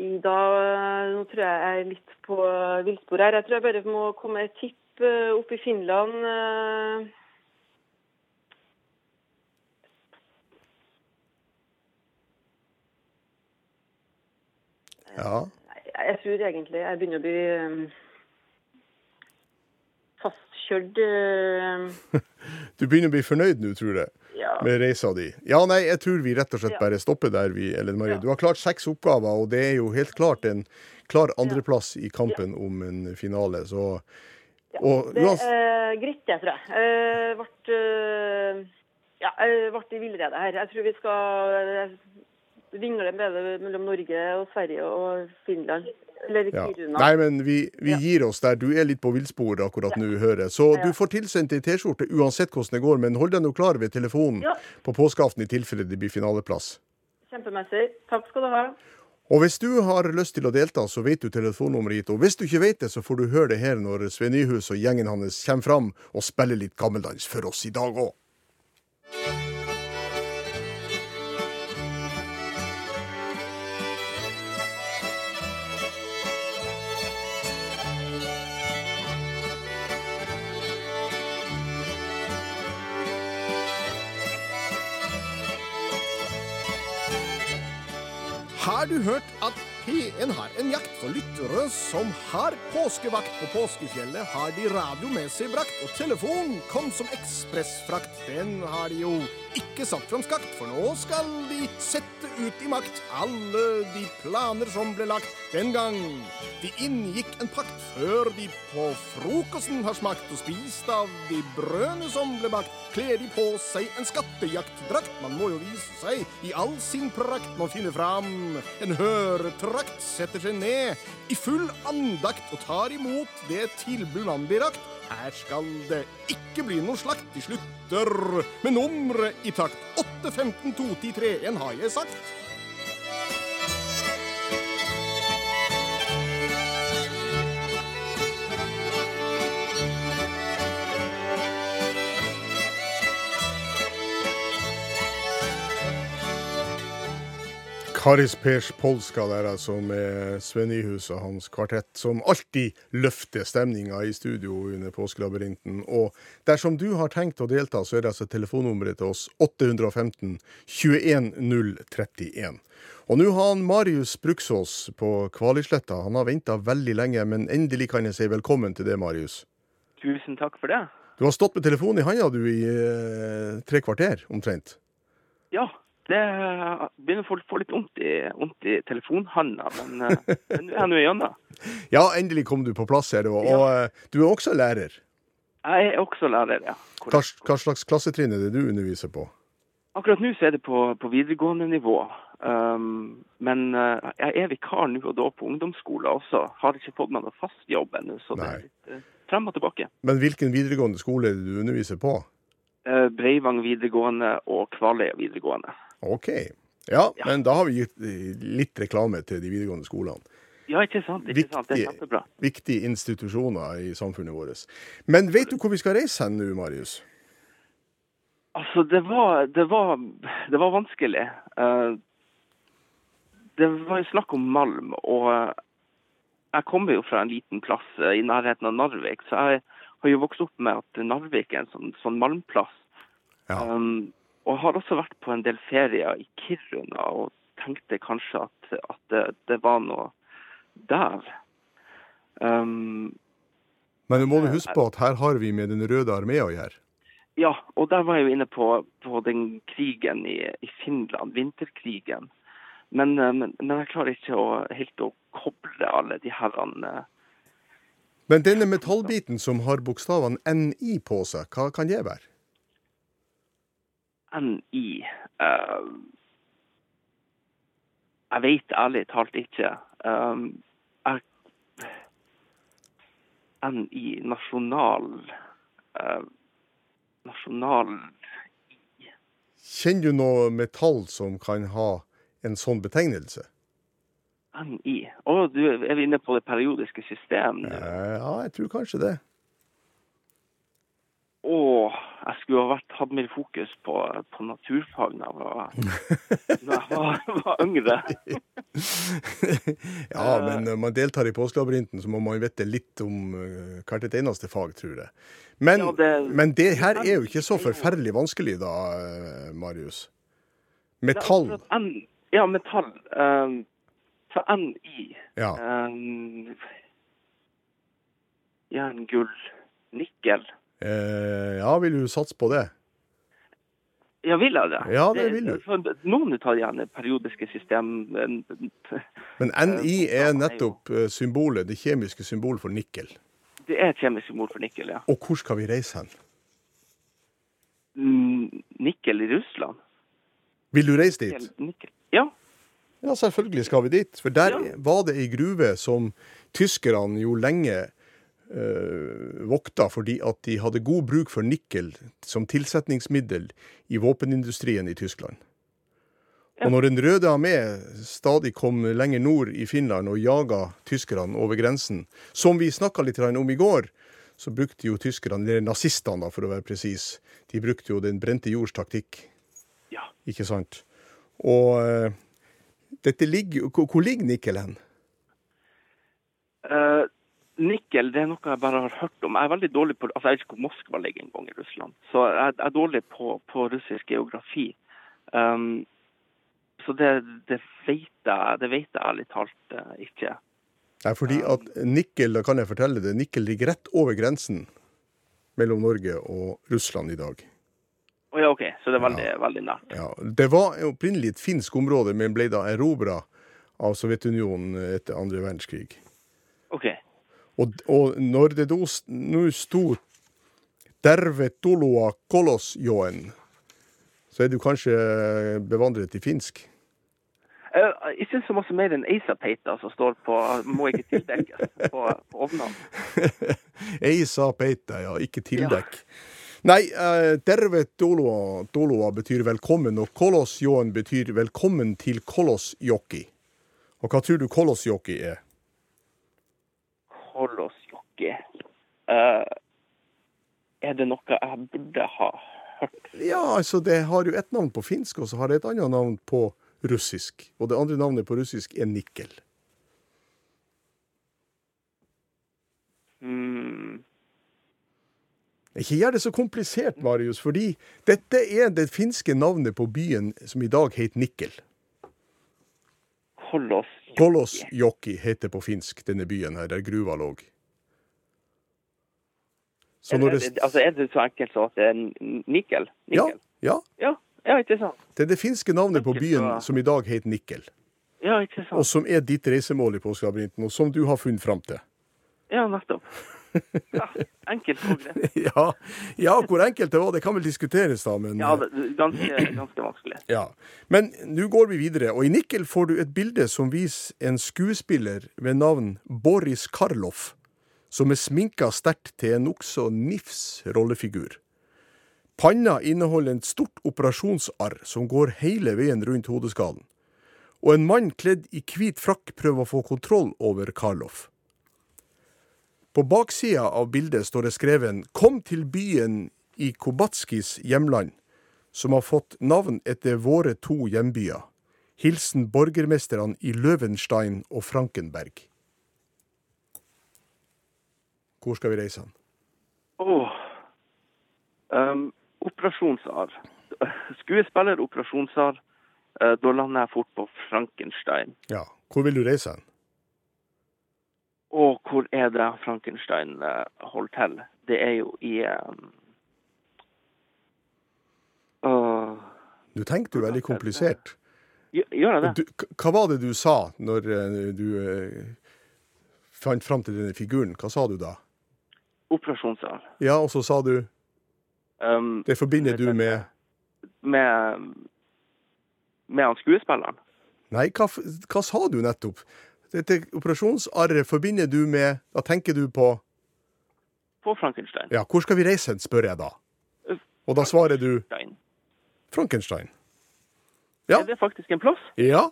I dag, nå tror jeg jeg er litt på eh, villspor her. Jeg tror jeg bare må komme med et tipp eh, opp i Finland. eh.
Ja.
Nei, Jeg tror egentlig jeg begynner å bli eh, fastkjørt. eh.
Du begynner å bli fornøyd nå, tror jeg,
Ja.
med reisa di. Ja, nei, jeg tror vi rett og slett
Ja.
bare stopper der, vi, Ellen Marie. Du har klart seks oppgaver, og det er jo helt klart en klar andreplass i kampen om en finale, så Og
Det
uansett
er greit, det, tror jeg. Eh, Vart, eh, ja, jeg ble i villrede her. Jeg tror vi skal eh, vingle med det mellom Norge og Sverige og Finland. Eller
ja.
Kiruna.
Nei, men vi, vi gir oss der. Du er litt på villspor akkurat nå, hører jeg. Så
Ja.
du får tilsendt ei T-skjorte uansett hvordan det går, men hold deg nå klar ved telefonen
Ja.
på påskeaften i tilfelle det blir finaleplass.
Kjempemessig. Takk skal du ha.
Og hvis du har lyst til å delta, så vet du telefonnummeret ditt. Og hvis du ikke vet det, så får du høre det her når Sven Nyhus og gjengen hans kommer fram og spiller litt gammeldans for oss i dag òg.
Har du hørt at P1 har en jakt for lyttere som har påskevakt? På påskefjellet har de radio med seg brakt, og telefonen kom som ekspressfrakt. Den har de jo ikke satt fram skakt, for nå skal de sette ut i makt alle de planer som ble lagt. den gang. De inngikk en pakt før de på frokosten har smakt og spist av de brødene som ble bakt. Kler de på seg en skattejaktdrakt, man må jo vise seg i all sin prakt. Man finner fram en høretrakt, setter seg ned i full andakt og tar imot det tilbud man blir rakt. Her skal det ikke bli noe slakt. De slutter med nummeret i takt. 8, 15, 2, 10, 3, 1 har jeg sagt.
Karis Pers Polska der, altså, med Sven Nyhus og hans kvartett, som alltid løfter stemninga i studio under Påskelabyrinten. Og dersom du har tenkt å delta, så er det altså telefonnummeret til oss 815 21 031. Og nå har han Marius Bruksås på Kvalisletta. Han har venta veldig lenge, men endelig kan jeg si velkommen til det, Marius.
Tusen takk for det.
Du har stått med telefonen i handa du i eh, tre kvarter, omtrent.
Ja, det begynner folk å få litt vondt i, vondt i telefonhanda, men eh, men nå er jeg nå igjennom.
Ja, endelig kom du på plass her, og, og eh, du er også lærer.
Jeg er også lærer, ja.
Hva,
Korrekt.
hva slags klassetrinn er det du underviser på?
Akkurat nå så er det på, på videregående nivå. Um, men eh, jeg er vikar nå og da på ungdomsskolen også. Har ikke fått meg noe fast jobb ennå, så det
Nei.
er litt eh, frem og tilbake.
Men hvilken videregående skole er det du underviser på?
Eh, Breivang videregående og Kvaløya videregående.
OK. Ja, men da har vi gitt eh, litt reklame til de videregående skolene.
Ja, ikke sant? Ikke sant? Det er
Viktig.
kjempebra.
Viktige institusjoner i samfunnet vårt. Men vet du hvor vi skal reise hen nå, Marius?
Altså, det var, det var, det var vanskelig. Eh, det var jo snakk om malm, og eh, jeg kommer jo fra en liten plass eh, i nærheten av Narvik, så jeg har jo vokst opp med at Narvik er en sånn, sånn malmplass.
Ja.
Um, og har også vært på en del ferier i Kiruna og tenkte kanskje at, at det, det var noe der. Um,
Men du må
Eh,
jo huske på at her har vi med Den røde armé å gjøre.
Ja, og der var jeg jo inne på, på den krigen i, i Finland, vinterkrigen. Men, eh, men, men jeg klarer ikke å, helt å koble alle de eh, herrene.
Men denne metallbiten som har bokstavene NI på seg, hva kan det være?
NI eh, Jeg vet ærlig talt ikke. Um, jeg, NI nasjonal eh, Nasjonal
Kjenner du noe metall som kan ha en sånn betegnelse?
NI Å, du er vi inne på det periodiske system? nå?
Eh, Ja, jeg tror kanskje det.
Åh, jeg skulle ha vært, hatt mer fokus på, på naturfag da jeg var, når jeg var, var yngre.
Ja,
Eh.
men når man deltar i Påskelabyrinten, så må man vite litt om eh, hvert et eneste fag, tror jeg. Men,
Ja, det-
men det her er jo ikke så forferdelig vanskelig, da, eh, Marius. Metall.
Det er akkurat N- Ja, metall. Um, så NI.
Ja.
Um, jern, gull, nikkel.
Eh, ja, vil du satse på det?
Ja, vil jeg det?
Ja, det vil du.
For Noen tar gjerne periodiske system. men-
Men
Eh,
NI er nettopp eh, symbolet, det kjemiske symbolet for nikkel.
Det er et kjemisk symbol for nikkel, ja.
Og hvor skal vi reise hen?
Mm, Nikkel i Russland?
Vil du reise dit?
Nikkel. Ja.
Ja, selvfølgelig skal vi dit. For der
Ja.
var det ei gruve som tyskerne jo lenge eh, vokta fordi at de hadde god bruk for nikkel som tilsetningsmiddel i våpenindustrien i Tyskland. Og når Den røde armé stadig kom lenger nord i Finland og jaga tyskerne over grensen, som vi snakka litt grann om i går, så brukte jo tyskerne, eller nazistene da, for å være presis, de brukte jo den brente jords taktikk.
Ja.
Ikke sant? Og eh, dette ligger, jo- hvor- hvor ligger Nikel hen?
Eh, Nikkel det er noe jeg bare har hørt om. Jeg er veldig dårlig på, altså jeg vet ikke hvor Moskva ligger engang i Russland. Så jeg jeg er dårlig på, på russisk geografi. Um, så det, det vet jeg det vet jeg ærlig talt eh, ikke.
Nei, fordi at Nikel, da kan jeg fortelle det, Nikel ligger rett over grensen mellom Norge og Russland i dag.
Å ja, OK. Så det er veldig, veldig nært.
Ja, det var opprinnelig et finsk område, men ble da erobra av Sovjetunionen etter andre verdenskrig.
OK. Eh,
Og, og når det då s- nå sto 'Tervetuloa Kolosjoen', så er du kanskje bevandret i finsk?
Eh, ikke så masse mer enn Aisa-peita som står på må ikke tildekkes på, på ovnene.
Ei sa peita, ja. Ikke tildekk. Nei, eh, tervetuloa tuloa betyr velkommen, og kolosjoen betyr velkommen til kolosjoki. Og hva tror du kolosjoki er?
Kolosjoki. Eh, er det noe jeg burde ha hørt?
Ja, altså, det har jo ett navn på finsk, og så har det et annet navn på russisk. Og det andre navnet på russisk er nikkel.
Hmm.
Ikke gjør det så komplisert, Marius, fordi dette er det finske navnet på byen som i dag heter Nikkel.
Kolos-
Kolosjoki heter på finsk denne byen her, der gruva lå. Så
Er
når
det,
det
altså, er det så enkelt som at det er n- nikkel?
Ja,
Nikkel?
ja.
Ja, ja, ikke sant?
Det er det finske navnet på
Nikkel,
byen
ja.
som i dag heter Nikkel,
Ja, ikke
og
sant?
som er ditt reisemål i påskelabyrinten, og som du har funnet fram til.
Ja, nettopp. Ja, enkelt og greit.
Ja, ja, hvor enkelt det var, det kan vel diskuteres, da, men
Ja, det- det- ganske, ganske vanskelig.
Ja. Men nå går vi videre, og i Nikkel får du et bilde som viser en skuespiller ved navn Boris Karloff, som er sminka sterkt til en nokså nifs rollefigur. Panna inneholder et stort operasjonsarr som går hele veien rundt hodeskallen, og en mann kledd i hvit frakk prøver å få kontroll over Karloff. På baksida av bildet står det skreven 'Kom til byen i Kobatskis hjemland' som har fått navn etter våre to hjembyer. Hilsen borgermesterne i Løvenstein og Frankenberg. Hvor skal vi reise han?
Åh. Um, operasjonsar. Skuespiller, operasjonsar. Eh, Da lander jeg fort på Frankenstein.
Ja, hvor vil du reise han?
Og hvor er det Frankenstein eh, holder til? Det er jo i um, åh,
Nå tenkte du veldig komplisert.
gjør- Gjør jeg det?
Og Du, k- hva var det du sa når eh, du eh, fant fram til denne figuren? Hva sa du da?
Operasjonssal.
Ja, og så sa du
Um,
Det forbinder du med
med med han skuespilleren.
Nei, hva, f- hva sa du nettopp? Dette operasjonsarret forbinder du med Da tenker du på
På Frankenstein.
Ja, hvor skal vi reise hen, spør jeg da. Og da svarer du
Stein.
Frankenstein. Ja.
Er det faktisk en plass?
Ja,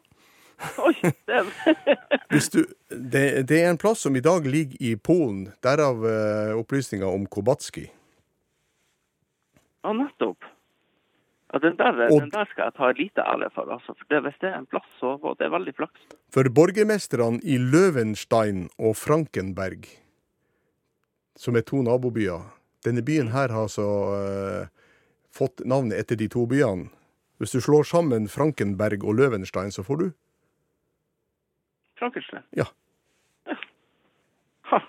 Oi! Det er,
hvis du, det, det er en plass som i dag ligger i Polen, derav eh, opplysninga om Kobatski.
ja, nettopp. Ja, den, der,
Og-
den der skal jeg ta et lite ære for. Altså, for det, hvis det er en plass, så var det veldig flaks.
For borgermesterne i Løvenstein og Frankenberg, som er to nabobyer Denne byen her har altså eh, fått navnet etter de to byene. Hvis du slår sammen Frankenberg og Løvenstein, så får du
Frankenstein.
Ja.
Ha.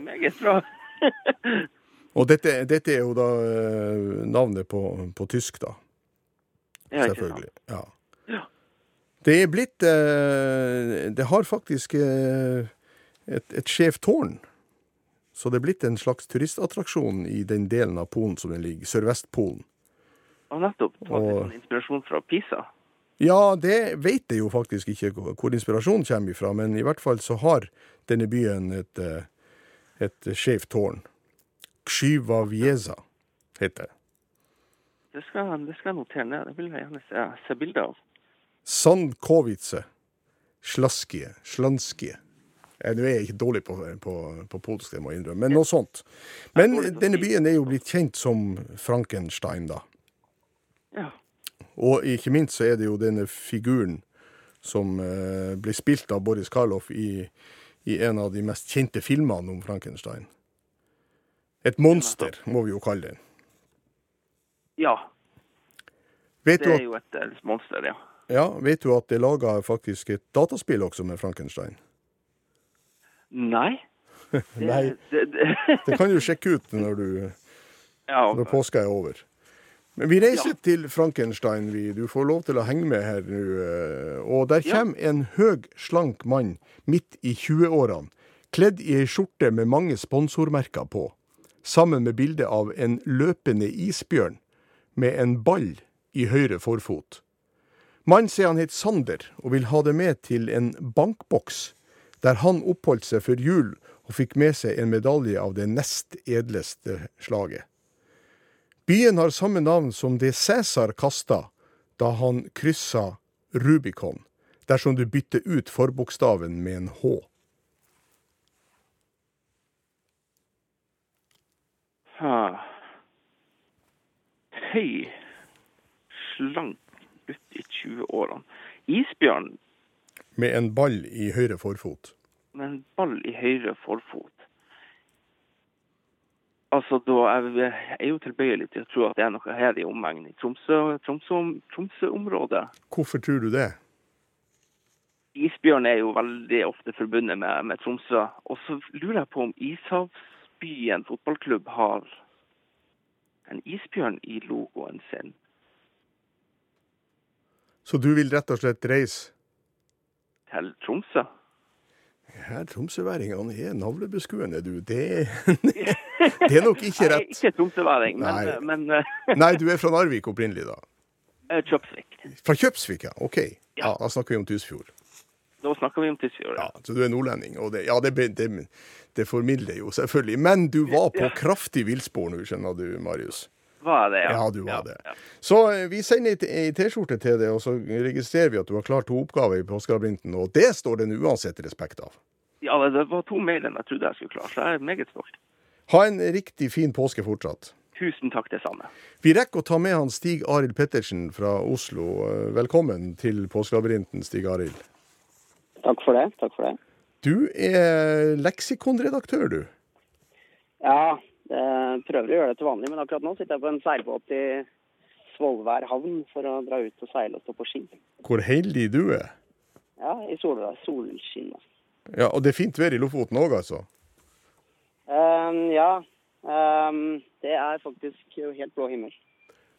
Meget bra.
Og dette, dette er jo da eh, navnet på, på tysk, da.
Ja, ikke sant.
Selvfølgelig. Ja.
Ja.
Det er blitt eh, Det har faktisk eh, et, et skjevt tårn. Så det er blitt en slags turistattraksjon i den delen av Polen som den ligger, Sørvest-Polen.
Og nettopp. Ta litt
Og-
sånn inspirasjon fra Pisa.
Ja, det vet jeg jo faktisk ikke hvor hvor inspirasjonen kommer ifra, men i hvert fall så har denne byen et, eh, et skjevt tårn. Ksjiva Vieza heter det.
Det skal, jeg- det skal jeg notere ned. Det vil jeg gjerne se, se bilder av.
Sandkovice. Slaskie. Slanskie. Eh, Nå er jeg ikke dårlig på, på, på polsk, det må jeg innrømme, men noe sånt. Men denne byen er jo blitt kjent som Frankenstein, da.
Ja.
Og ikke minst så er det jo denne figuren som eh, ble spilt av Boris Karloff i, i en av de mest kjente filmene om Frankenstein. Et monster, må vi jo kalle den.
ja.
Vet
Det
du
er
at,
jo et eh, monster, ja.
ja, vet du at det er laga faktisk et dataspill også med Frankenstein?
Nei. Det-
Nei.
det- det-
Det kan du sjekke ut når du
ja,
Når påska er over. Men vi reiser til Frankenstein, vi. Du får lov til å henge med her nå. eh, Og der
Ja.
kommer en høg, slank mann midt i 20-årene, kledd i ei skjorte med mange sponsormerker på, sammen med bilde av en løpende isbjørn med en ball i høyre forfot. Mannen sier han het Sander, og vil ha det med til en bankboks, der han oppholdt seg for jul og fikk med seg en medalje av det nest edleste slaget. Byen har samme navn som det Cæsar kasta da han kryssa Rubicon, dersom du bytter ut forbokstaven med en H.
Ha. Høy, slank gutt i 20-årene. Isbjørn
Med en ball i høyre forfot.
med en ball i høyre forfot. Altså, da jeg, jeg er jo tilbøyelig til å tro at det er noe her i omegnen i Tromsø- Tromsø- Tromsø-området.
Hvorfor tror du det?
Isbjørn er jo veldig ofte forbundet med, med Tromsø. Og så lurer jeg på om Ishavsbyen fotballklubb har en isbjørn i logoen sin.
Så du vil rett og slett reise
til Tromsø.
Her, tromsøværingene er navlebeskuende, du. Det, det er nok ikke
Jeg er
rett.
ikke tromsøværing,
Nei.
men, men eh,
Nei, du er fra Narvik opprinnelig, da.
Kjøpsvik.
Fra Kjøpsvik, ja. OK. Ja,
Ja.
Da snakker vi om Tysfjord.
Da snakker vi om Tysfjord.
Ja, så du er nordlending. Og det, ja, det, be- det, det formidler jo selvfølgelig. Men du var på kraftig villspor nå, skjønner du, Marius.
Hva er det?
Ja, du var det.
ja.
Så eh, vi sender ei t- ei T-skjorte til deg, og så registrerer vi at du har klart to oppgaver i påskelabyrinten, og det står den uansett respekt av.
Ja, det- det var to mer enn jeg trodde jeg skulle klare, så jeg er meget stolt.
Ha en riktig fin påske fortsatt.
Tusen takk, det samme.
Vi rekker å ta med han Stig Arild Pettersen fra Oslo. Eh, Velkommen til Påskelabyrinten, Stig Arild.
Takk for det. takk for det.
Du er leksikonredaktør, du.
Ja, eh, prøver å gjøre det til vanlig, men akkurat nå sitter jeg på en seilbåt i Svolvær havn for å dra ut og seile og stå på ski.
Hvor heldig du er.
Ja, I sol, solskinn. altså.
Ja, Og det er fint vær i Lofoten òg, altså.
Eh, ja, eh, det er faktisk helt blå himmel.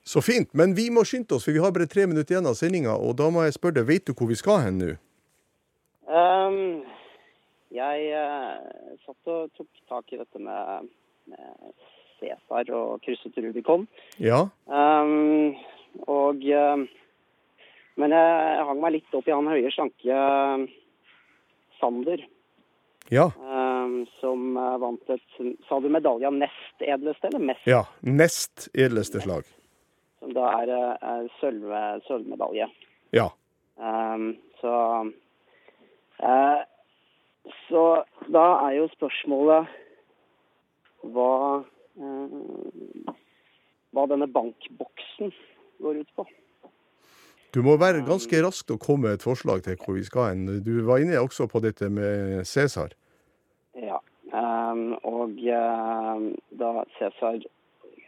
Så fint. Men vi må skynde oss, for vi har bare tre minutter igjen av sendinga, og da må jeg spørre deg, veit du hvor vi skal hen nå?
Ehm, jeg eh, satt og tok tak i dette med, med Cæsar og krysset Rubicon.
Ja?
Ehm, og eh, Men jeg, jeg hang meg litt opp i han høye, slanke Sander,
Ja.
ehm, som eh, vant et Sa du medalje av nest edleste, eller mest?
Ja. Nest edleste slag.
Som da er, eh, er sølve, sølvmedalje.
Ja.
Ehm, så eh, Så da er jo spørsmålet hva eh, Hva denne bankboksen går ut på.
Du må være ganske rask til å komme med et forslag til hvor vi skal hen. Du var inne også på dette med Cæsar.
Ja. ehm, og ehm, da Cæsar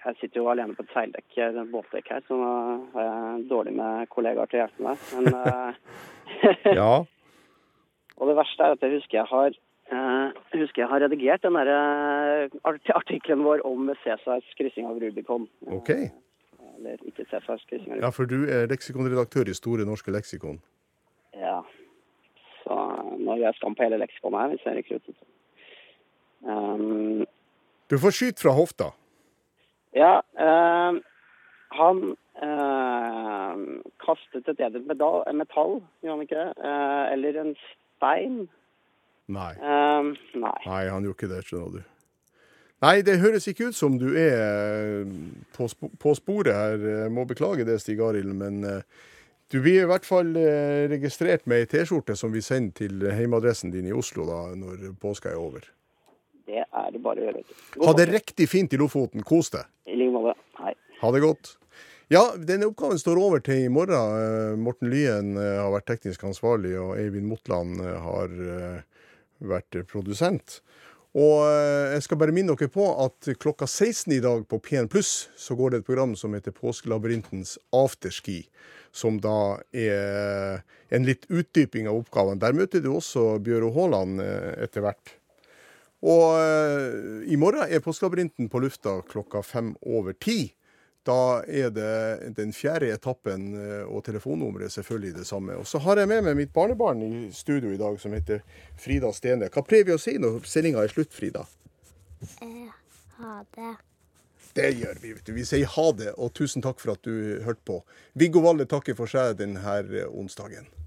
Jeg sitter jo alene på et seildekk, eller en båtdekk her, så nå har jeg dårlig med kollegaer til å hjelpe meg. Men, eh,
Ja.
og det verste er at jeg husker jeg har eh, husker jeg har redigert den derre art artikkelen vår om Cæsars kryssing av Rubicon.
OK.
Eller ikke Cæsars kryssing av Rubicon.
Ja, for du er leksikonredaktør i Store norske leksikon.
Ja. Så eh, nå gjør jeg skam på hele leksikonet her, hvis jeg rykker ut. Um,
Du får skyte fra hofta.
Ja, eh, han eh, kastet et edelt medal- metall, gjorde han ikke det? Eh, eller en stein?
Nei.
Eh, nei.
Nei, han gjorde ikke det, skjønner du. Nei, det høres ikke ut som du er eh, på, sp på sporet her. Eh, Må beklage det, Stig Arild, men eh, du blir i hvert fall eh, registrert med ei T-skjorte som vi sender til heimeadressen din i Oslo da, når påska er over.
Det er det bare å gjøre. vet du. God
Ha det
påske.
riktig fint i Lofoten. Kos deg.
I like måte. Hei.
Ha det godt. Ja, denne oppgaven står over til i morgen. Eh, Morten Lyen eh, har vært teknisk ansvarlig, og Eivind Motland eh, har eh, vært produsent. Og eh, jeg skal bare minne dere på at klokka 16 i dag på P1 Pluss så går det et program som heter Påskelabyrintens afterski, som da er eh, en litt utdyping av oppgaven. Der møter du også Bjøro Haaland eh, etter hvert. Og eh, i morgen er Påskelabyrinten på lufta klokka fem over ti. Da er det den fjerde etappen, eh, og telefonnummeret er selvfølgelig det samme. Og så har jeg med meg mitt barnebarn i studio i dag, som heter Frida Stene. Hva prøver vi å si når sendinga er slutt, Frida?
Ha det.
Det gjør vi, vet du. Vi sier ha det, og tusen takk for at du hørte på. Viggo Valle takker for seg denne eh, onsdagen.